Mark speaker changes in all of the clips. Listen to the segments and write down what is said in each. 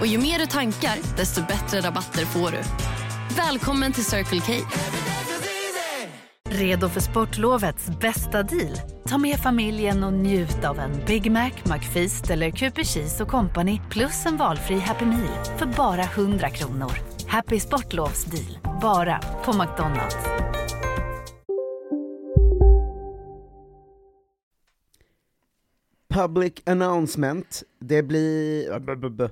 Speaker 1: Och ju mer du tankar, desto bättre rabatter får du. Välkommen till Circle K.
Speaker 2: Redo för sportlovets bästa deal? Ta med familjen och njut av en Big Mac, McFeast eller Cooper Cheese och Company plus en valfri Happy Meal för bara 100 kronor. Happy Sportlovs deal, bara på McDonalds.
Speaker 3: Public announcement. Det blir... b- b- b-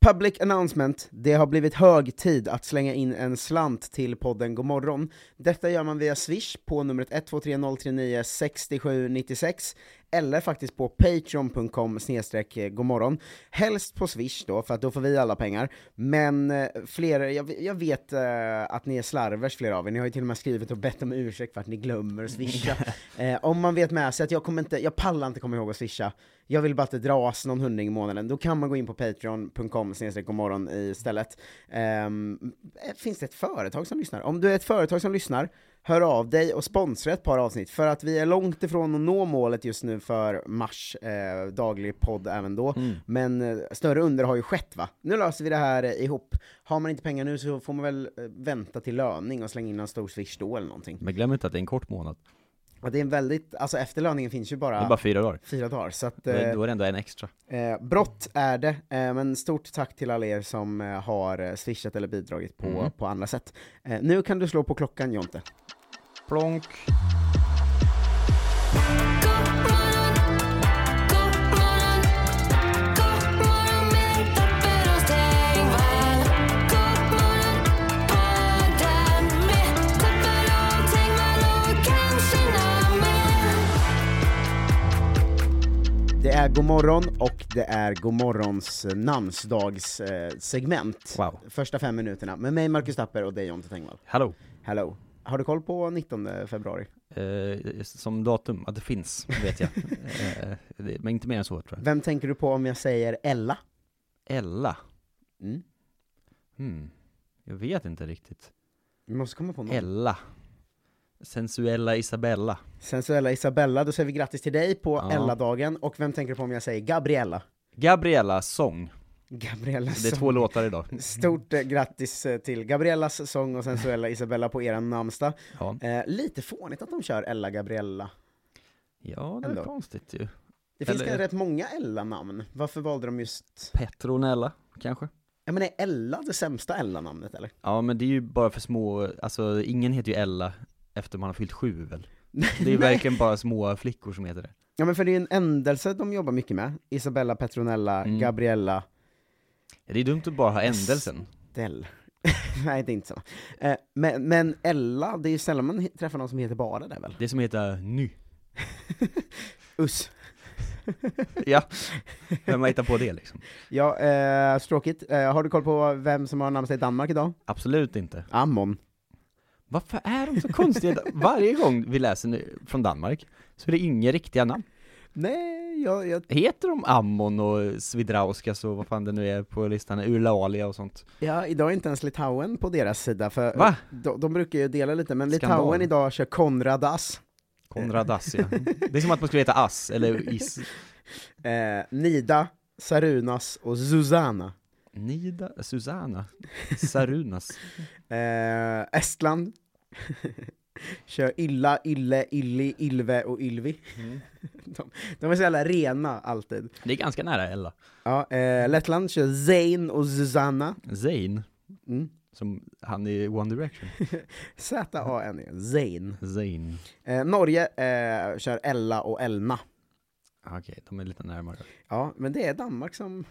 Speaker 3: Public announcement. Det har blivit hög tid att slänga in en slant till podden Godmorgon. Detta gör man via swish på numret 123039 6796 eller faktiskt på patreon.com snedstreck godmorgon. Helst på swish då, för att då får vi alla pengar. Men eh, flera, jag, jag vet eh, att ni är slarvers flera av er, ni har ju till och med skrivit och bett om ursäkt för att ni glömmer att swisha. eh, om man vet med sig att jag kommer inte, jag pallar inte komma ihåg att swisha, jag vill bara att det dras någon hundring i månaden, då kan man gå in på patreon.com snedstreck godmorgon istället. Ehm, finns det ett företag som lyssnar? Om du är ett företag som lyssnar, hör av dig och sponsra ett par avsnitt, för att vi är långt ifrån att nå målet just nu för mars, eh, daglig podd även då, men eh, större under har ju skett va? Nu löser vi det här eh, ihop. Har man inte pengar nu så får man väl eh, vänta till löning och slänga in en stor swish då eller någonting.
Speaker 4: Men glöm inte att det är en kort månad.
Speaker 3: Och det är en väldigt, alltså efter löningen finns ju
Speaker 4: Det
Speaker 3: bara,
Speaker 4: är bara fyra dagar.
Speaker 3: fyra dagar, så att... eh,
Speaker 4: Men Då är det ändå en extra.
Speaker 3: Eh, brott är det, eh, men stort tack till alla er som eh, har eh, swishat eller bidragit på,
Speaker 4: Mm.
Speaker 3: på andra sätt. Eh, nu kan du slå på klockan Jonte.
Speaker 4: Plonk.
Speaker 3: Det är god morgon och det är god morgons eh, namnsdagssegment. Eh, segment.
Speaker 4: Wow.
Speaker 3: Första fem minuterna med mig Marcus Tapper och dig Jonte Tengvall.
Speaker 4: Hallå.
Speaker 3: Hello. Har du koll på 19 februari?
Speaker 4: Eh, som datum, att det finns, vet jag. eh, det, men inte mer än så tror jag.
Speaker 3: Vem tänker du på om jag säger Ella?
Speaker 4: Ella.
Speaker 3: Mm.
Speaker 4: Hmm. Jag vet inte riktigt.
Speaker 3: Vi måste komma
Speaker 4: Mm.
Speaker 3: på någon.
Speaker 4: Ella. Sensuella Isabella.
Speaker 3: Sensuella Isabella, då säger vi grattis till dig på
Speaker 4: Ja.
Speaker 3: Ella-dagen. Och vem tänker du på om jag säger Gabriella?
Speaker 4: Gabriella Sång.
Speaker 3: Gabriella
Speaker 4: Det är
Speaker 3: som-
Speaker 4: två låtar idag.
Speaker 3: Stort eh, grattis eh, till Gabriellas sång och sensuella Isabella på eran namnsdag.
Speaker 4: Ja,
Speaker 3: Eh, lite fånigt att de kör Ella Gabriella.
Speaker 4: ja det
Speaker 3: Ändå.
Speaker 4: är konstigt ju.
Speaker 3: Det finns
Speaker 4: Eller-
Speaker 3: Eller... rätt många Ella-namn. Varför valde de just...
Speaker 4: Petronella, kanske?
Speaker 3: Ja men är Ella det sämsta Ella-namnet eller?
Speaker 4: Ja, men det är ju bara för små, alltså ingen heter ju Ella efter man har fyllt sju väl? Det är ju verkligen bara små flickor som heter det.
Speaker 3: Ja men för det är ju en ändelse de jobbar mycket med. Isabella, Petronella,
Speaker 4: Mm.
Speaker 3: Gabriella,
Speaker 4: Det är dumt att bara ha ändelsen.
Speaker 3: Dell. Nej det är inte så. Eh, men, men Ella, det är ju sällan man he- träffar någon som heter bara det väl?
Speaker 4: Det som heter ny.
Speaker 3: Us.
Speaker 4: Ja, vem har hittat på det liksom?
Speaker 3: Ja, eh, stråkigt. Eh, har du koll på vem som har namnsdag i Danmark idag?
Speaker 4: Absolut inte.
Speaker 3: Ammon.
Speaker 4: Varför är de så konstiga? Varje gång vi läser nu från Danmark så är det inga riktiga namn.
Speaker 3: Nej, jag, jag
Speaker 4: Heter de Ammon och Svidrauskas och vad fan det nu är på listan, Urlalia och sånt?
Speaker 3: Ja, idag är inte ens Litauen på deras sida, för
Speaker 4: Va?
Speaker 3: De, de brukar ju dela lite, men
Speaker 4: Skandal.
Speaker 3: Litauen idag kör Konrad Ass,
Speaker 4: Konrad Ass, ja. Det är som att man skulle heta Ass, eller Is.
Speaker 3: eh, Nida, Sarunas och Zuzana.
Speaker 4: Nida, Susanna, Sarunas.
Speaker 3: Eh, Estland kör Illa, Ille, Illi, Ilve och Ylvi.
Speaker 4: Mm.
Speaker 3: De, de är så jävla rena alltid.
Speaker 4: Det är ganska nära Ella.
Speaker 3: Ja, eh, Lettland kör Zain och Zuzana.
Speaker 4: Zayn,
Speaker 3: Mm.
Speaker 4: som han i One Direction.
Speaker 3: Z-A-N, -E, Zain.
Speaker 4: Zayn.
Speaker 3: Eh, Norge eh, kör Ella och Elna.
Speaker 4: Okej, de är lite närmare.
Speaker 3: Ja, men det är Danmark som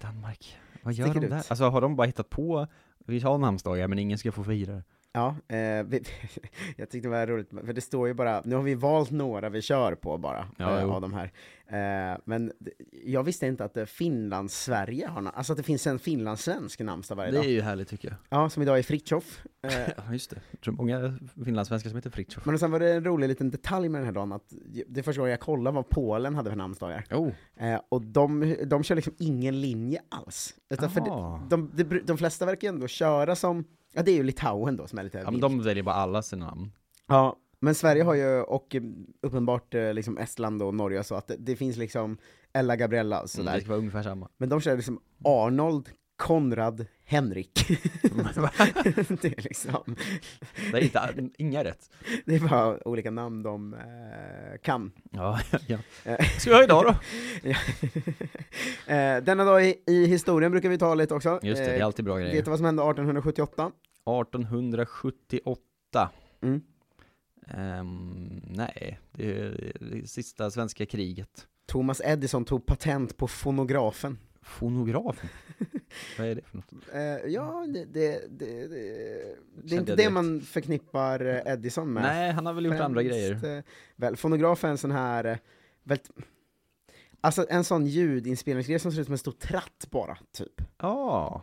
Speaker 4: Danmark, vad gör
Speaker 3: Sticker
Speaker 4: de
Speaker 3: ut.
Speaker 4: där? Alltså har de bara hittat på Vi har namnsdagar men ingen ska få fira det.
Speaker 3: Ja, eh, vi, jag tyckte det var roligt, för det står ju bara, nu har vi valt några vi kör på bara,
Speaker 4: Ja,
Speaker 3: eh,
Speaker 4: jo.
Speaker 3: av de här. Eh, men d- jag visste inte att eh, Finland-Sverige har na- alltså att det finns en finlandssvensk namnsdag varje
Speaker 4: Det är
Speaker 3: dag.
Speaker 4: ju härligt tycker jag.
Speaker 3: Ja, som idag är Fritjof. Eh,
Speaker 4: Ja just det. Jag tror många finlandssvenskar som heter Fritiof.
Speaker 3: men sen var det en rolig liten detalj med den här dagen, att det är första gången jag kollade vad Polen hade för namnsdagar.
Speaker 4: Oh.
Speaker 3: Eh, och de, de kör liksom ingen linje alls. Utan för
Speaker 4: Jaha.
Speaker 3: de, de, de, de flesta verkar ju ändå köra som, ja det är ju Litauen då som är lite
Speaker 4: Ja, men
Speaker 3: vilt.
Speaker 4: de väljer bara alla sina namn.
Speaker 3: Ja, men Sverige har ju, och eh, uppenbart eh, liksom Estland och Norge och så, att det, det finns liksom Ella Gabriella och sådär.
Speaker 4: Mm, Det ska vara ungefär samma.
Speaker 3: Men de kör liksom Arnold, Konrad, Henrik. det, är liksom,
Speaker 4: Det är inte, inga rätt.
Speaker 3: det är bara olika namn de eh, kan.
Speaker 4: Ja, ja. Ska vi ha idag då?
Speaker 3: Eh, denna dag i, i historien brukar vi ta lite också.
Speaker 4: Just det, det är alltid bra
Speaker 3: Eh, vet du
Speaker 4: grejer.
Speaker 3: vad som hände 1878?
Speaker 4: 1878.
Speaker 3: Mm.
Speaker 4: Ehm, nej, det är det sista svenska kriget.
Speaker 3: Thomas Edison tog patent på fonografen.
Speaker 4: Fonografen? Vad är det för något?
Speaker 3: Eh, ja, det, det, det, det, det är
Speaker 4: Mm. jag
Speaker 3: inte det
Speaker 4: direkt.
Speaker 3: man förknippar eh, Edison med.
Speaker 4: Nej, han har väl gjort andra
Speaker 3: främst,
Speaker 4: grejer.
Speaker 3: eh, Väl, fonograf är en sån här, eh, väl, alltså en sån ljudinspelningsgrej som ser ut som en stor tratt bara, typ.
Speaker 4: Ja,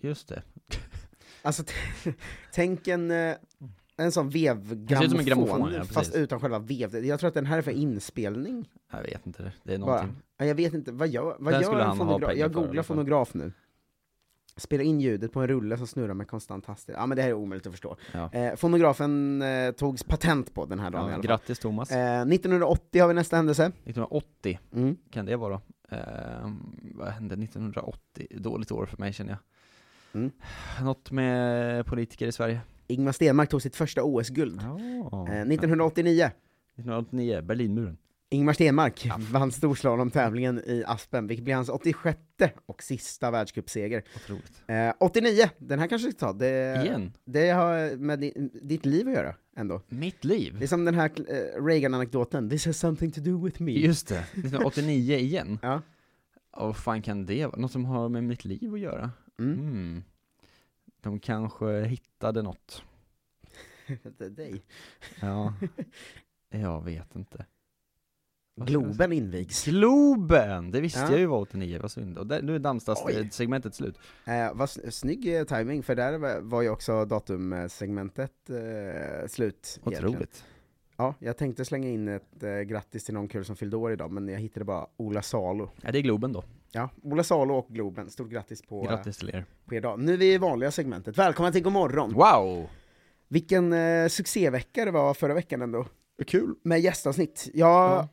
Speaker 4: just det.
Speaker 3: Alltså, t- tänk en, eh, en sån
Speaker 4: ser ut som
Speaker 3: vevgrammofon,
Speaker 4: en grammofon, ja,
Speaker 3: fast
Speaker 4: precis.
Speaker 3: utan själva vev. Jag tror att den här är för inspelning,
Speaker 4: Jag vet inte, det- det är
Speaker 3: bara.
Speaker 4: någonting.
Speaker 3: Ja, Jag vet inte, vad gör,
Speaker 4: Den
Speaker 3: vad gör
Speaker 4: skulle
Speaker 3: en
Speaker 4: han ha
Speaker 3: fonograf?
Speaker 4: pengar
Speaker 3: Jag
Speaker 4: för liksom. i
Speaker 3: googlar
Speaker 4: alla fall.
Speaker 3: fonograf nu. Spela in ljudet på en rulle som snurrar med konstant hastighet. Ja men det här är omöjligt att förstå.
Speaker 4: Ja.
Speaker 3: Eh, fonografen eh, togs patent på den här dagen i
Speaker 4: Ja,
Speaker 3: alla fall.
Speaker 4: grattis Thomas.
Speaker 3: Eh, 1980 har vi nästa händelse.
Speaker 4: 1980
Speaker 3: Mm.
Speaker 4: kan det vara då? Ehm, vad hände 1980? Dåligt år för mig känner jag.
Speaker 3: Mm.
Speaker 4: Något med politiker i Sverige.
Speaker 3: Ingmar Stenmark tog sitt första OS-guld.
Speaker 4: Ja.
Speaker 3: Eh, 1989.
Speaker 4: 1989, Berlinmuren.
Speaker 3: Ingmar Stenmark vann storslalomtävlingen i Aspen, vilket blir hans 86 och sista världscupseger.
Speaker 4: Otroligt.
Speaker 3: Eh, 89, den här kanske vi ska ta. Det,
Speaker 4: Igen?
Speaker 3: det har med di, ditt liv att göra, ändå.
Speaker 4: Mitt
Speaker 3: Det är
Speaker 4: liv?
Speaker 3: som den här eh, Reagan-anekdoten, 'This has something to do with me'
Speaker 4: Just det, 1989 igen.
Speaker 3: Ja.
Speaker 4: Och vad fan kan det vara? Något som har med mitt liv att göra?
Speaker 3: Mm.
Speaker 4: Mm. De kanske hittade något. Mm.
Speaker 3: Det är dig.
Speaker 4: Ja. Jag vet inte. Vad ska jag säga?
Speaker 3: Globen invigs.
Speaker 4: Globen! Det visste
Speaker 3: Ja.
Speaker 4: jag ju var 89, vad synd. Och där, nu är
Speaker 3: Oj.
Speaker 4: Damstads-segmentet slut.
Speaker 3: Eh, vad s- snygg eh, timing för där var- var ju också datumsegmentet eh, slut. egentligen.
Speaker 4: Otroligt.
Speaker 3: Ja, jag tänkte slänga in ett eh, grattis till någon kul som fyllde år idag, men jag hittade bara Ola Salo.
Speaker 4: Ja, det är Globen då.
Speaker 3: Ja, Ola Salo och Globen, stort grattis på, eh,
Speaker 4: Grattis till er.
Speaker 3: på er dag. Nu är vi i vanliga segmentet. Välkomna till Godmorgon!
Speaker 4: Wow!
Speaker 3: Vilken eh, succévecka det var förra veckan ändå. Kul! Med gästavsnitt. Jag eh,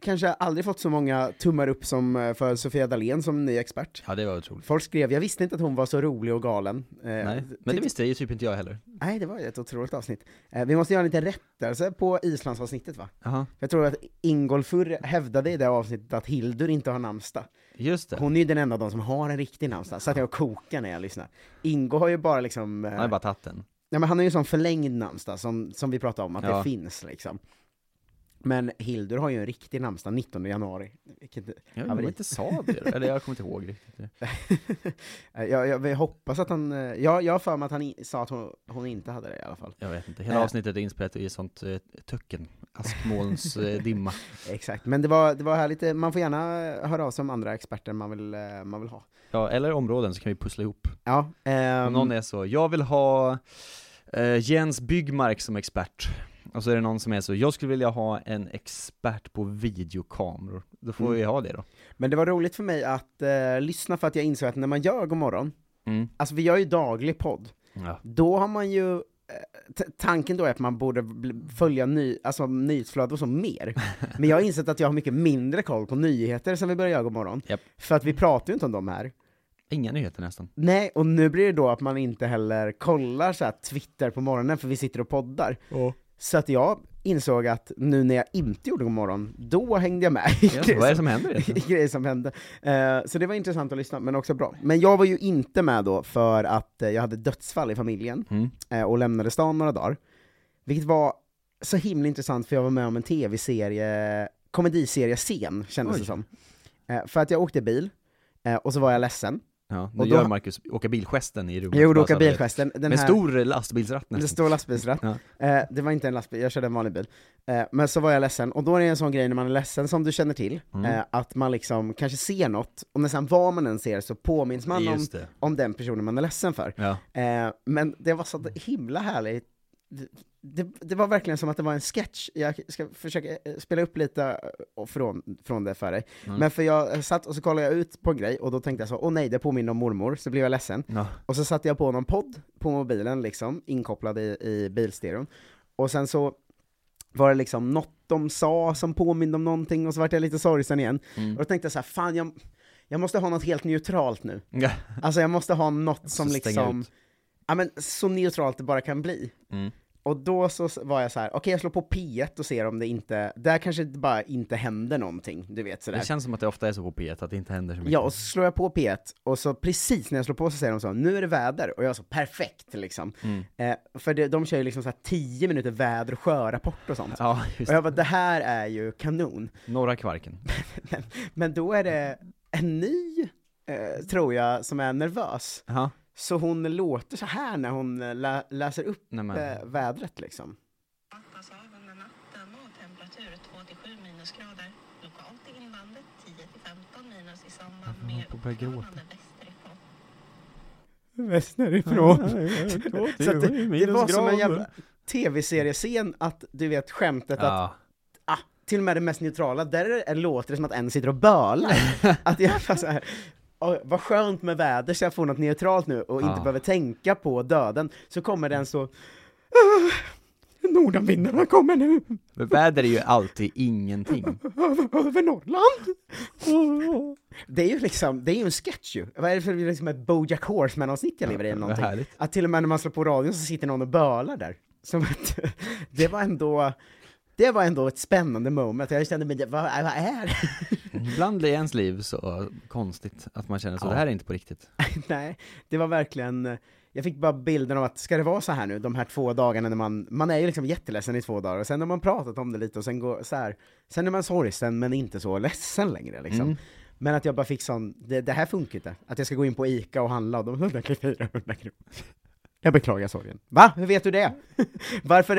Speaker 3: kanske aldrig fått så många tummar upp som eh, för Sofia Dalén som ny expert.
Speaker 4: Ja, det var otroligt.
Speaker 3: Folk skrev, jag visste inte att hon var så rolig och galen. Eh,
Speaker 4: Nej, men det
Speaker 3: tyckte-
Speaker 4: visste ju typ inte jag heller.
Speaker 3: Nej, det var ju ett otroligt avsnitt. Eh, vi måste göra en liten rättelse på Islandsavsnittet va?
Speaker 4: Jaha,
Speaker 3: Jag tror att Ingolfur hävdade i det avsnittet att Hildur inte har namnsdag.
Speaker 4: just det.
Speaker 3: Hon är ju den enda av dem som har en riktig namnsdag, så att jag kokar när jag lyssnar. Ingo har ju bara liksom... eh,
Speaker 4: Han har bara tagit den.
Speaker 3: Nej, men han har ju en sån förlängd namnsdag som, som vi pratade om, att det
Speaker 4: Ja.
Speaker 3: finns liksom. Men Hildur har ju en riktig namnsdag 19 januari. Vilket,
Speaker 4: Jag
Speaker 3: Ja,
Speaker 4: vet
Speaker 3: men-
Speaker 4: inte sa det, då. eller jag kommer inte ihåg riktigt. det.
Speaker 3: eh, jag, jag, jag hoppas att han... eh, Jag, jag har för mig att han i, sa att hon, hon inte hade det i alla fall.
Speaker 4: Jag vet inte, hela
Speaker 3: Eh.
Speaker 4: avsnittet är inspelat i sånt eh, töcken, askmolns eh, dimma.
Speaker 3: Exakt, men det var, det var härligt. Eh, Man får gärna höra av sig om andra experter man vill, eh, man vill ha.
Speaker 4: Ja, eller områden så kan vi pussla ihop.
Speaker 3: Ja, ehm,
Speaker 4: Om någon är så, jag vill ha eh, Jens Byggmark som expert. Och så är det någon som är så, jag skulle vilja ha en expert på videokameror. Då får
Speaker 3: Mm.
Speaker 4: vi ha det då.
Speaker 3: Men det var roligt för mig att eh, lyssna för att jag insåg att när man gör Godmorgon,
Speaker 4: Mm.
Speaker 3: alltså vi gör ju daglig podd,
Speaker 4: Ja.
Speaker 3: då har man ju eh, t- Tanken då är att man borde bli- följa ny, alltså nyhetsflöde och så mer. Men jag har insett att jag har mycket mindre koll på nyheter sen vi började göra Godmorgon.
Speaker 4: Japp.
Speaker 3: För att vi pratar ju inte om dem här.
Speaker 4: Inga nyheter nästan.
Speaker 3: Nej, och nu blir det då att man inte heller kollar så här Twitter på morgonen för vi sitter och poddar. Så att jag insåg att nu när jag inte gjorde Godmorgon, då hängde jag med. i
Speaker 4: Ja,
Speaker 3: grejer
Speaker 4: vad är det
Speaker 3: som-
Speaker 4: som händer egentligen?
Speaker 3: grejer som hände. Eh, så det var intressant att lyssna, men också bra. Men jag var ju inte med då för att eh, jag hade dödsfall i familjen
Speaker 4: Mm.
Speaker 3: eh, och lämnade stan några dagar. Vilket var så himla intressant för jag var med om en tv-serie, komediserie scen kändes
Speaker 4: Oj.
Speaker 3: det som. Eh, för att jag åkte bil, eh, och så var jag ledsen.
Speaker 4: Ja, nu
Speaker 3: Och då-
Speaker 4: gör Marcus åka bilgesten i rummet.
Speaker 3: Jag gjorde
Speaker 4: bara
Speaker 3: åka
Speaker 4: så att vi-
Speaker 3: bilgesten, den
Speaker 4: Med
Speaker 3: här,
Speaker 4: stor lastbilsratt
Speaker 3: det
Speaker 4: nästan.
Speaker 3: står lastbilsratt.
Speaker 4: Ja.
Speaker 3: Eh, det var inte en lastbil, jag körde en vanlig bil. Eh, men så var jag ledsen, och då är det en sån grej när man är ledsen som du känner till,
Speaker 4: Mm.
Speaker 3: eh, att man liksom kanske ser något, och nästan vad man än ser så påminns man om,
Speaker 4: Just det.
Speaker 3: om den personen man är ledsen för.
Speaker 4: Ja.
Speaker 3: Eh, men det var så himla härligt. Det- Det, det var verkligen som att det var en sketch. Jag ska försöka eh, spela upp lite eh, från, från det för dig. Men för jag eh, satt och så kollade jag ut på en grej och då tänkte jag så, åh nej, det påminner om mormor, så blev jag ledsen.
Speaker 4: Ja.
Speaker 3: Och så satte jag på någon podd på mobilen, liksom, inkopplad i, i bilstereon. Och sen så var det liksom något de sa som påminde om någonting och så vart jag lite sorgsen igen. Och då tänkte jag så här, fan jag, jag måste ha något helt neutralt nu.
Speaker 4: Ja.
Speaker 3: Alltså jag måste ha något som
Speaker 4: stänga
Speaker 3: liksom,
Speaker 4: ut.
Speaker 3: ja men så neutralt det bara kan bli.
Speaker 4: Mm.
Speaker 3: Och då så s- var jag så här, okej jag slår på P1 och ser om det inte, där kanske det bara inte händer någonting, du vet sådär.
Speaker 4: Det känns som att det ofta är så på P1 att det inte händer så mycket.
Speaker 3: Ja, och så slår jag på P1, och så precis när jag slår på så säger de så, nu är det väder, och jag så perfekt liksom.
Speaker 4: Mm.
Speaker 3: Eh, för det, de kör ju liksom så här 10 minuter väder och sjörapport och sånt.
Speaker 4: ja just
Speaker 3: Och
Speaker 4: det.
Speaker 3: jag bara, det här är ju kanon.
Speaker 4: Norra Kvarken.
Speaker 3: Men då är det en ny, eh, tror jag, som är nervös.
Speaker 4: Ja.
Speaker 3: Så hon låter så här när hon eh, lä läser upp
Speaker 4: Nej, men.
Speaker 3: eh, vädret liksom.
Speaker 5: Mattas av under natten och temperatur 2-7 minusgrader. Lokalt i inlandet 10-15 minus i samband med
Speaker 4: på att börja gråta.
Speaker 5: uppfallande västerifrån.
Speaker 3: Västerifrån. så att det, det var som en jävla tv-seriescen att, du vet, skämtet att
Speaker 4: Ja.
Speaker 3: ah, till och med det mest neutrala, där är det, låter det som att en sitter och bölar. att jag bara så här, "Åh, vad skönt med väder så jag får något neutralt nu och inte
Speaker 4: Ah.
Speaker 3: behöver tänka på döden. Så kommer den så, "Ah, nordanvindarna kommer nu
Speaker 4: Men Väder är ju alltid ingenting.
Speaker 3: över, över Norrland. det är ju liksom, det är ju en sketch ju. Vad är det för liksom ett Bojack Horseman-avsnitt jag lever i eller
Speaker 4: vad
Speaker 3: någonting?
Speaker 4: härligt.
Speaker 3: Att till och med när man slår på radion så sitter någon och bölar där. Som att, det var ändå, det var ändå ett spännande moment. Jag kände, men det, vad, vad är det?
Speaker 4: Ibland är ens liv så konstigt att man känner så,
Speaker 3: Ja.
Speaker 4: det här är inte på riktigt.
Speaker 3: Nej, det var verkligen, jag fick bara bilden av att, ska det vara så här nu, de här två dagarna när man, man är ju liksom jätteledsen i två dagar, och sen har man pratat om det lite, och sen går så här, sen är man sorgsen men inte så ledsen längre liksom. Men att jag bara fick sån, det, det här funkar inte. Att jag ska gå in på Ica och handla, och de där kan 400 kronor. Jag beklagar sorgen. Va? Hur vet du det? Varför?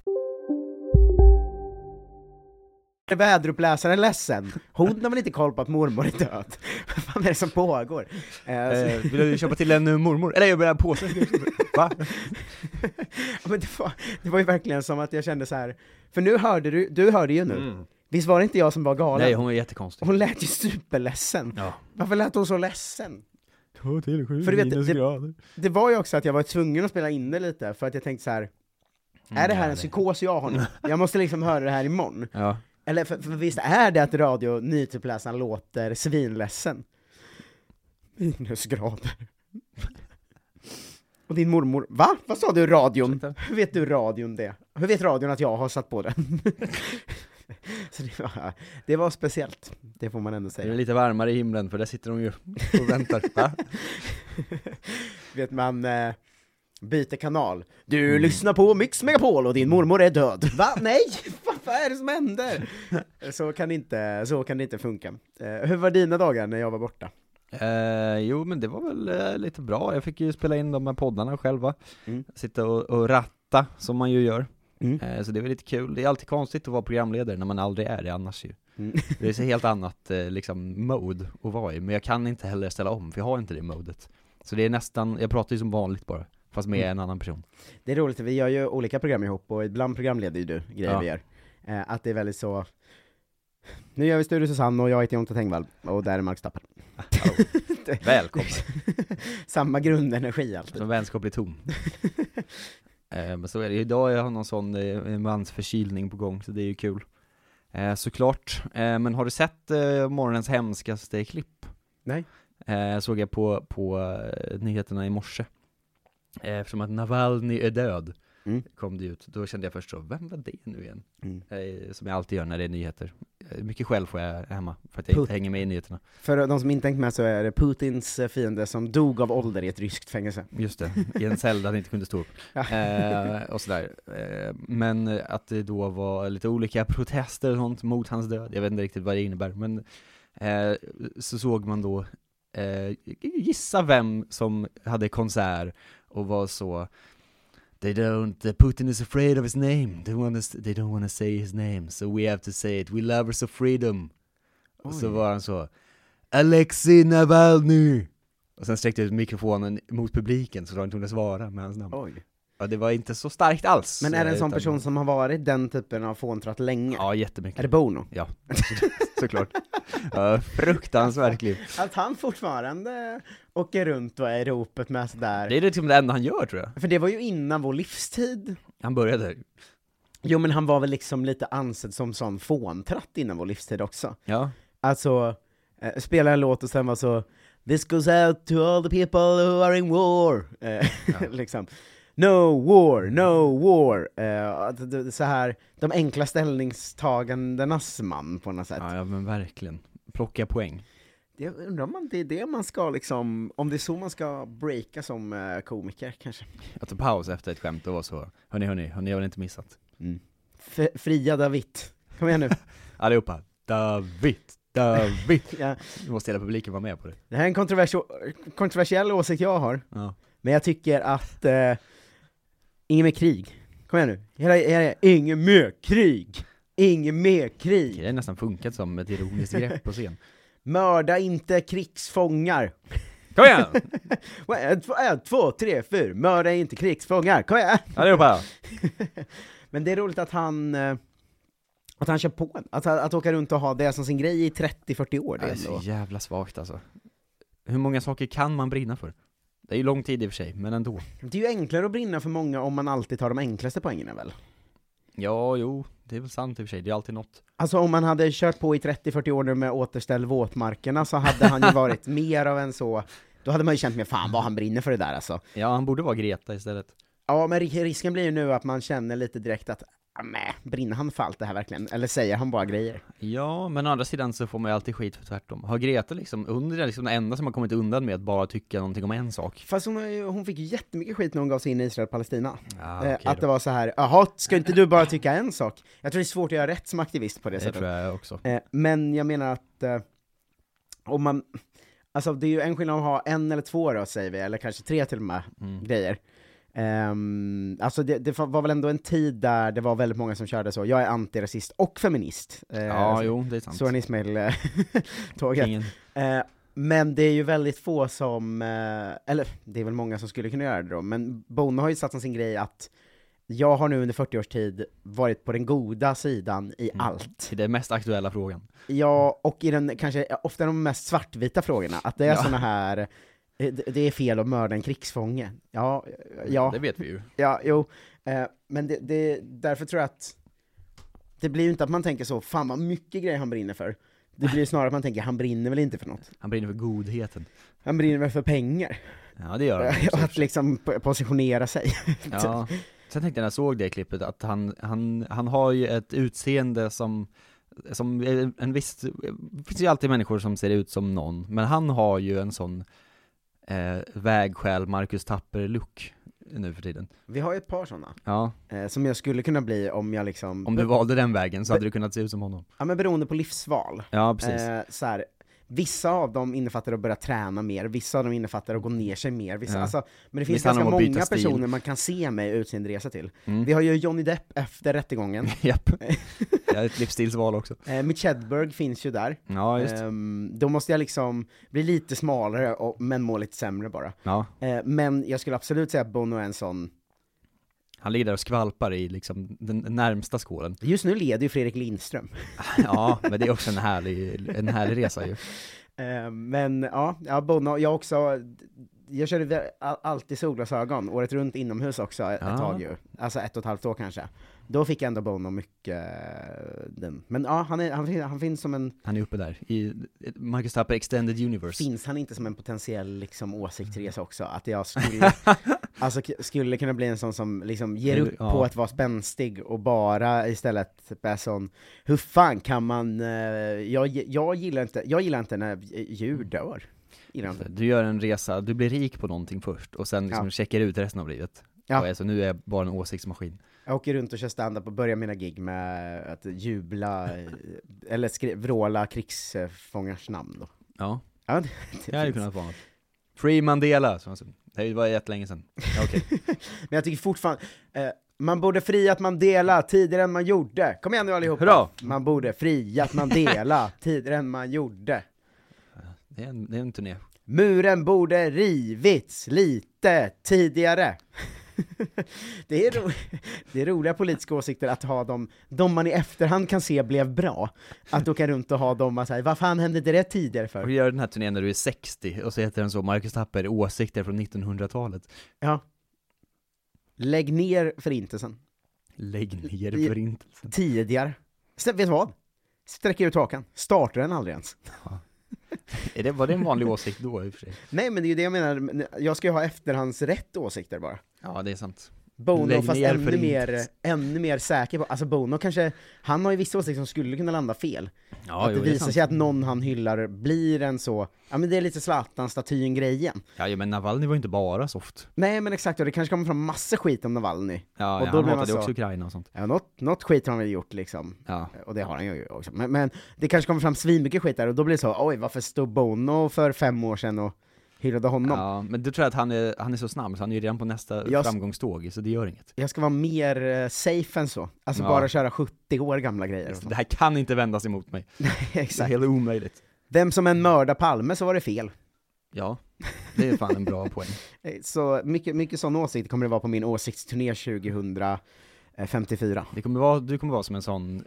Speaker 3: Är väderuppläsaren ledsen? Hon har väl inte koll på att mormor är död? Vad fan är det som pågår? Eh, så-
Speaker 4: Eh, vill du köpa till en eh, mormor? Eller jag vill ha en påse. Va?
Speaker 3: Ja, men det, var, det var ju verkligen som att jag kände så här. för nu hörde du, du hörde ju nu, visst var det inte jag som var galen?
Speaker 4: Mm. Nej, hon är jättekonstig.
Speaker 3: Hon lät ju superledsen.
Speaker 4: Ja.
Speaker 3: Varför lät hon så ledsen?
Speaker 4: Ta till sju
Speaker 3: För du vet, det- minusgrader. Det var ju också att jag var tvungen att spela in det lite, för att jag tänkte så här. är
Speaker 4: Mm,
Speaker 3: det här en psykos jag har nu? Jag måste liksom höra det här imorgon.
Speaker 4: Ja.
Speaker 3: Eller för, för visst är det att radio nyhetsuppläsaren låter svinledsen? Minusgrader. Och din mormor, va? Vad sa du radion?
Speaker 4: Ursäkta?
Speaker 3: Hur vet du radion det? Hur vet radion att jag har satt på den? Så det var, det var speciellt, det får man ändå
Speaker 4: Det är
Speaker 3: säga.
Speaker 4: lite varmare i himlen för där sitter de ju och väntar. Va?
Speaker 3: Vet man eh, byter kanal. Du lyssnar på Mix Megapol och din mormor är död. Va? Nej! Vad vad är det som händer? Så kan det inte, så kan det inte funka. Eh, hur var dina dagar när jag var borta?
Speaker 4: Eh, jo men det var väl eh, lite bra, jag fick ju spela in de här poddarna själva,
Speaker 3: Mm.
Speaker 4: sitta och, och ratta som man ju gör,
Speaker 3: Mm.
Speaker 4: eh, så det var lite kul. Det är alltid konstigt att vara programledare när man aldrig är det annars ju.
Speaker 3: Mm.
Speaker 4: Det är så helt annat eh, liksom mode att vara i, men jag kan inte heller ställa om för jag har inte det modet. Så det är nästan, jag pratar ju som vanligt bara, fast med en annan person.
Speaker 3: Det är roligt, vi gör ju olika program ihop och ibland programleder ju du grejer
Speaker 4: Ja.
Speaker 3: vi gör. Eh, att det är väldigt så, nu gör vi Studio Susanne och jag heter Jonte Tengvall, och där är Mark Stappel.
Speaker 4: Välkommen!
Speaker 3: Samma grundenergi alltid.
Speaker 4: Som vänskaplig ton. eh, men så är det ju. Idag har jag någon sån eh, mansförkylning på gång, så det är ju kul. Eh, såklart. Eh, men har du sett eh, morgonens hemskaste klipp?
Speaker 3: Nej.
Speaker 4: Eh, såg jag på, på eh, nyheterna i morse. Eh, Eftersom att Navalny är död,
Speaker 3: Mm.
Speaker 4: kom det ut. Då kände jag först så, vem var det nu igen?
Speaker 3: Mm.
Speaker 4: Eh, som jag alltid gör när det är nyheter. Eh, mycket själv får jag hemma, för att jag
Speaker 3: Put-
Speaker 4: inte hänger med i nyheterna.
Speaker 3: För de som inte hängt med så är det Putins eh, fiende som dog av ålder i ett ryskt fängelse.
Speaker 4: Just det, i en cell där han inte kunde stå upp.
Speaker 3: Ja.
Speaker 4: Eh, och sådär. Eh, men eh, att det då var lite olika protester och sånt mot hans död, jag vet inte riktigt vad det innebär, men eh, så såg man då, eh, gissa vem som hade konsert och var så They don't, Putin is afraid of his name, they, wanna, they don't wanna say his name, so we have to say it, we lovers of freedom. Och så
Speaker 3: Oj.
Speaker 4: var han så Alexei Navalny! Och sen sträckte jag ut mikrofonen mot publiken så de inte kunde svara med hans namn.
Speaker 3: Oj.
Speaker 4: Ja, det var inte så starkt alls.
Speaker 3: Men är det en
Speaker 4: eh,
Speaker 3: sån
Speaker 4: utan-
Speaker 3: person som har varit den typen av fåntratt länge?
Speaker 4: Ja, jättemycket.
Speaker 3: Är det Bono?
Speaker 4: Ja, såklart. Ja, fruktansvärt klipp.
Speaker 3: Att han fortfarande åker runt och är i ropet med sådär.
Speaker 4: Det är liksom det enda han gör tror jag.
Speaker 3: För det var ju innan vår livstid.
Speaker 4: Han började.
Speaker 3: Jo men han var väl liksom lite ansedd som sån fåntratt innan vår livstid också.
Speaker 4: Ja.
Speaker 3: Alltså, eh, spela en låt och sen var så This goes out to all the people who are in war. Eh, liksom. No war, no war. Eh, att det- det- så här, de enkla ställningstagandenas man på något sätt.
Speaker 4: ja, ja men verkligen. Plocka poäng.
Speaker 3: Jag undrar om man- det är det man ska liksom, om det är så man ska breaka som eh, komiker kanske.
Speaker 4: Jag tog paus efter ett skämt och var så, hörni, hörni, hörni, jag har inte missat.
Speaker 3: F fria David. Kom igen nu.
Speaker 4: Allihopa, David, David.
Speaker 3: Ja.
Speaker 4: Nu måste hela publiken vara med på det.
Speaker 3: Det här är en kontrovers kontroversiell åsikt jag har,
Speaker 4: Ja.
Speaker 3: men jag tycker att eh, inget mer krig. Kom igen nu. Hela, hela, inget mer krig! Inget mer
Speaker 4: Det
Speaker 3: krig!
Speaker 4: har nästan funkat som ett ironiskt grepp på scen.
Speaker 3: Mörda inte krigsfångar!
Speaker 4: Kom igen!
Speaker 3: En, två, en, två, tre, fyra! Mörda inte krigsfångar! Kom igen!
Speaker 4: Allihopa!
Speaker 3: Men det är roligt att han, eh, att han kör på en. Att, att åka runt och ha det som sin grej i 30-40 år. Det
Speaker 4: Ja,
Speaker 3: är
Speaker 4: det är så
Speaker 3: ändå.
Speaker 4: jävla svagt alltså. Hur många saker kan man brinna för? Det är ju lång tid i och för sig, men ändå.
Speaker 3: det är ju enklare att brinna för många om man alltid tar de enklaste poängerna väl?
Speaker 4: Ja, jo, det är väl sant i och för sig, det är alltid något.
Speaker 3: Alltså om man hade kört på i 30-40 år nu med återställ våtmarkerna så hade han ju varit mer av en så, då hade man ju känt mer fan vad han brinner för det där alltså.
Speaker 4: Ja, han borde vara Greta istället.
Speaker 3: Ja men ri- risken blir ju nu att man känner lite direkt att, "Ah, meh, brinner han för allt det här verkligen? Eller säger han bara grejer?
Speaker 4: Ja, men å andra sidan så får man ju alltid skit för tvärtom. Har Greta liksom, hon är liksom den enda som har kommit undan med att bara tycka någonting om en sak.
Speaker 3: Fast hon, har ju- hon fick ju jättemycket skit när hon gav sig in i Israel-Palestina.
Speaker 4: Ja,
Speaker 3: Eh,
Speaker 4: Ah, okej
Speaker 3: att det
Speaker 4: då.
Speaker 3: var så här, jaha, ska inte du bara tycka en sak? Jag tror det är svårt att göra rätt som aktivist på det,
Speaker 4: Det
Speaker 3: sättet.
Speaker 4: tror jag också.
Speaker 3: Eh, men jag menar att, eh, om man, alltså det är ju en skillnad att ha en eller två då säger vi, eller kanske tre till och med,
Speaker 4: Mm.
Speaker 3: grejer. Ehm, alltså det, det var väl ändå en tid där det var väldigt många som körde så, jag är antirasist och feminist. Eh,
Speaker 4: Ja, jo, det är sant.
Speaker 3: Så är Ismail-tåget.
Speaker 4: Ingen-
Speaker 3: Eh, men det är ju väldigt få som, eh, eller det är väl många som skulle kunna göra det då, men Bono har ju satt som sin grej att jag har nu under 40 års tid varit på den goda sidan i
Speaker 4: Mm.
Speaker 3: allt.
Speaker 4: Till den mest aktuella frågan.
Speaker 3: Ja, och i den kanske, ofta de mest svartvita frågorna, att det är
Speaker 4: Ja.
Speaker 3: såna här, eh, det, det är fel att mörda en krigsfånge. Ja, ja,
Speaker 4: Det vet vi ju.
Speaker 3: ja, jo. Eh, men det, det, därför tror jag att, det blir ju inte att man tänker så, fan vad mycket grejer han brinner för. Det blir ju snarare att man tänker, han brinner väl inte för något?
Speaker 4: Han brinner för godheten.
Speaker 3: Han brinner väl för pengar?
Speaker 4: Ja, det gör han. också i och
Speaker 3: Och
Speaker 4: för
Speaker 3: att
Speaker 4: sig.
Speaker 3: liksom po- positionera sig.
Speaker 4: Ja. Sen tänkte jag när jag såg det klippet att han, han, han har ju ett utseende som, som är en viss, det finns ju alltid människor som ser ut som någon, men han har ju en sån eh, vägskäl Marcus Tapper-look nu för tiden.
Speaker 3: Vi har ju ett par sådana,
Speaker 4: Ja,
Speaker 3: eh, som jag skulle kunna bli om jag liksom,
Speaker 4: om du valde den vägen så hade du kunnat se ut som honom.
Speaker 3: ja men beroende på livsval.
Speaker 4: Ja, precis.
Speaker 3: Eh, så här, Vissa av dem innefattar att börja träna mer, vissa av dem innefattar att gå ner sig mer, vissa,
Speaker 4: Ja.
Speaker 3: alltså, men det finns
Speaker 4: Vissa handlar
Speaker 3: ganska
Speaker 4: om att byta
Speaker 3: många
Speaker 4: stil.
Speaker 3: personer man kan se med ut sin resa till.
Speaker 4: Mm.
Speaker 3: Vi har ju Johnny Depp efter rättegången,
Speaker 4: Japp. Jag har ett livsstilsval också. Eh.
Speaker 3: eh, Mitch Hedberg finns ju där.
Speaker 4: Ja, just det.
Speaker 3: Ehm, då måste jag liksom bli lite smalare, och, men må lite sämre bara.
Speaker 4: Ja.
Speaker 3: Eh, men jag skulle absolut säga att Bono är en sån,
Speaker 4: Han ligger där och skvalpar i liksom den närmsta skålen.
Speaker 3: just nu leder ju Fredrik Lindström.
Speaker 4: Ja, men det är också en härlig, en härlig resa ju.
Speaker 3: Eh, men ja, ja, Bono, jag också, jag körde vä- all- alltid solglasögon, året runt inomhus också ett
Speaker 4: Ja.
Speaker 3: tag ju. Alltså ett och ett halvt år kanske. Då fick jag ändå Bono mycket eh, den. Men ja, han, är, han, fin- han finns som en,
Speaker 4: Han är uppe där, i Marcus Tapper Extended Universe.
Speaker 3: finns han inte som en potentiell liksom åsiktsresa också? Att jag skulle, alltså k- skulle kunna bli en sån som liksom ger upp
Speaker 4: Ja.
Speaker 3: på att vara spänstig och bara istället är sån, hur fan kan man, eh, jag, jag gillar inte, jag gillar inte när eh, djur dör. Gillar jag inte.
Speaker 4: Du gör en resa, du blir rik på någonting först och sen liksom
Speaker 3: Ja.
Speaker 4: checkar ut resten av livet.
Speaker 3: Ja.
Speaker 4: Och alltså, nu är jag bara en åsiktsmaskin.
Speaker 3: Jag åker runt och kör stand-up och börjar mina gig med att jubla, eh, eller skri- vråla krigsfångars namn då.
Speaker 4: Ja,
Speaker 3: Ja, det,
Speaker 4: det hade
Speaker 3: finns.
Speaker 4: kunnat vara något. Free Mandela, som han sa. det var jättelänge sedan. Ja, Okej.
Speaker 3: Men jag tycker fortfarande, eh, man borde friat man dela tidigare än man gjorde. Kom igen nu allihopa!
Speaker 4: Hurra!
Speaker 3: Man borde friat man dela tidigare än man gjorde.
Speaker 4: Det, är en- det är en turné.
Speaker 3: Muren borde rivits lite tidigare. det, är ro- det är roliga politiska åsikter att ha dem, de man i efterhand kan se blev bra. Att åka runt och ha dem och säga, vad fan hände inte det tidigare för?
Speaker 4: Och du gör den här turnén när du är 60 och så heter den så Marcus Tapper, åsikter från 1900-talet.
Speaker 3: Ja. Lägg ner förintelsen.
Speaker 4: Lägg ner
Speaker 3: I-
Speaker 4: förintelsen.
Speaker 3: Tidigare. Stä- vet du vad? Sträck ut hakan. Starta den aldrig ens.
Speaker 4: Är det, var det en vanlig åsikt då i och för sig?
Speaker 3: Nej men det är ju det jag menar, jag ska ju ha efterhandsrätt åsikter bara.
Speaker 4: Ja, det är sant.
Speaker 3: Bono
Speaker 4: Lägg
Speaker 3: fast
Speaker 4: ner
Speaker 3: ännu mer,
Speaker 4: Förintelsen.
Speaker 3: ännu mer säker på, alltså Bono kanske, han har ju vissa åsikter som skulle kunna landa fel.
Speaker 4: Ja,
Speaker 3: att det
Speaker 4: jo, är
Speaker 3: visar
Speaker 4: sant.
Speaker 3: sig att någon han hyllar blir en så, ja men det är lite Zlatan-statyn-grejen.
Speaker 4: Ja, ja, men Navalny var ju inte bara soft.
Speaker 3: Nej men exakt, och det kanske kommer fram massa skit om Navalny.
Speaker 4: Ja,
Speaker 3: Och
Speaker 4: ja
Speaker 3: då
Speaker 4: han
Speaker 3: blev
Speaker 4: hatade
Speaker 3: man
Speaker 4: ju
Speaker 3: så-
Speaker 4: också Ukraina och sånt.
Speaker 3: Ja, något, något skit har han väl gjort liksom.
Speaker 4: Ja.
Speaker 3: Och det har han ju också. Men, men det kanske kommer fram svinmycket skit där och då blir det så, oj varför stod Bono för fem år sedan och hyllade honom?
Speaker 4: ja, men du tror jag att han är, han är så snabb så han är ju redan på nästa
Speaker 3: Jag s-
Speaker 4: framgångståg, så det gör inget.
Speaker 3: Jag ska vara mer eh, safe än så. Alltså
Speaker 4: Ja.
Speaker 3: bara köra 70 år gamla grejer. Och
Speaker 4: Det
Speaker 3: sånt.
Speaker 4: här kan inte vändas emot mig. Det är
Speaker 3: Exakt.
Speaker 4: helt omöjligt.
Speaker 3: Vem som än mördar Palme så var det fel.
Speaker 4: Ja, det är fan en bra poäng.
Speaker 3: Eh, Så mycket, mycket sådana åsikter kommer det vara på min åsiktsturné 2054.
Speaker 4: Det kommer vara, du kommer vara som en sån eh,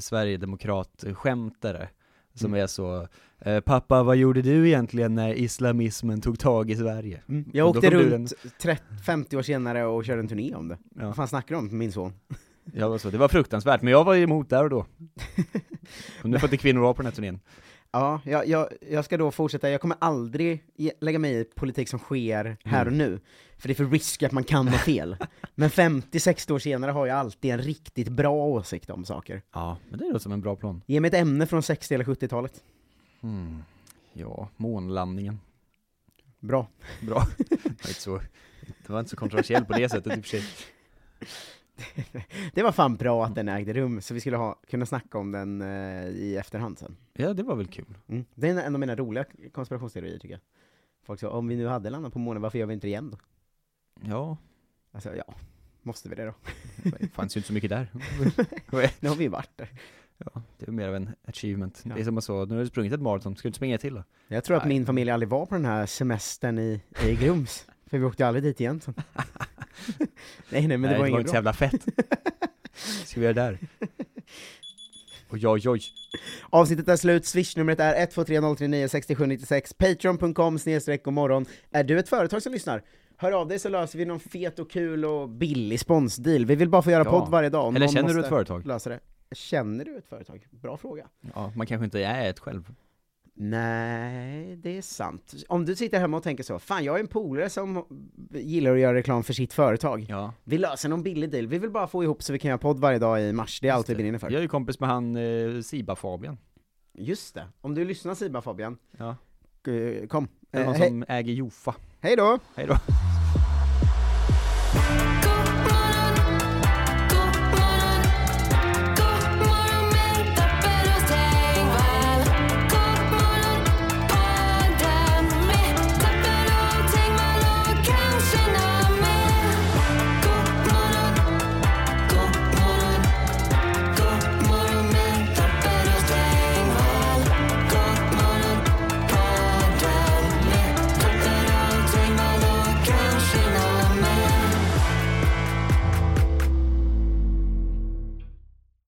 Speaker 4: Sverigedemokrat-skämtare som är så, eh, pappa vad gjorde du egentligen när islamismen tog tag i Sverige?
Speaker 3: Jag
Speaker 4: Och då
Speaker 3: åkte
Speaker 4: kommer du
Speaker 3: runt 30, 50 år senare och körde en turné om det. Vad
Speaker 4: Ja,
Speaker 3: fan snackar du om min son?
Speaker 4: jag var så, det var fruktansvärt, men jag var ju emot där och då. Och nu får inte kvinnor vara på den här turnén.
Speaker 3: Ja, jag, jag, jag ska då fortsätta, jag kommer aldrig ge, lägga mig i politik som sker här och
Speaker 4: Mm.
Speaker 3: nu, för det är för risk att man kan ha fel. Men 50-60 år senare har jag alltid en riktigt bra åsikt om saker.
Speaker 4: Ja, men det låter som en bra plan.
Speaker 3: Ge mig ett ämne från 60 eller 70-talet.
Speaker 4: Hmm. Ja, månlandningen.
Speaker 3: Bra.
Speaker 4: Bra. Det var inte så, det var inte så kontroversiellt på det sättet i och för sig.
Speaker 3: Det var fan bra att den ägde rum, så vi skulle ha, kunna snacka om den eh, i efterhand sen.
Speaker 4: Ja, det var väl kul.
Speaker 3: Mm. Det är en av mina roliga konspirationsteorier tycker jag. Folk sa, om vi nu hade landat på månen, varför gör vi inte det igen då?
Speaker 4: Ja,
Speaker 3: Alltså ja, måste vi det då?
Speaker 4: det fanns ju inte så mycket där.
Speaker 3: Nu har vi ju varit där.
Speaker 4: Ja, det är mer av en achievement.
Speaker 3: Ja.
Speaker 4: Det är som att så, nu har du sprungit ett maraton, ska du inte springa till då?
Speaker 3: Jag tror att
Speaker 4: Nej.
Speaker 3: min familj aldrig var på den här semestern i, i Grums, för vi åkte aldrig dit igen sen. nej, nej, men det var inget
Speaker 4: inte så
Speaker 3: bra.
Speaker 4: jävla fett. ska vi göra det där? Oj, oj, oj.
Speaker 3: Avsnittet är slut, swishnumret är 123-039-6796, patreon.com snedstreck godmorgon. Är du ett företag som lyssnar? Hör av dig så löser vi någon fet och kul och billig sponsdeal. Vi vill bara få göra
Speaker 4: Ja.
Speaker 3: podd varje dag. och
Speaker 4: Eller
Speaker 3: någon
Speaker 4: känner du
Speaker 3: måste
Speaker 4: ett företag?
Speaker 3: Lösa det. Känner du ett företag? Bra fråga.
Speaker 4: Ja, man kanske inte är ett själv.
Speaker 3: Nej, det är sant. Om du sitter hemma och tänker så, fan jag är en polare som gillar att göra reklam för sitt företag.
Speaker 4: Ja.
Speaker 3: Vi löser någon billig deal, vi vill bara få ihop så vi kan göra podd varje dag i mars, det är allt vi brinner för.
Speaker 4: Jag är ju kompis med han eh, Siba-Fabian.
Speaker 3: Just det, om du lyssnar Siba Fabian,
Speaker 4: Ja.
Speaker 3: eh, kom.
Speaker 4: Det är
Speaker 3: Eh,
Speaker 4: han
Speaker 3: he-
Speaker 4: som äger Jofa.
Speaker 3: hej då!
Speaker 4: Hej då.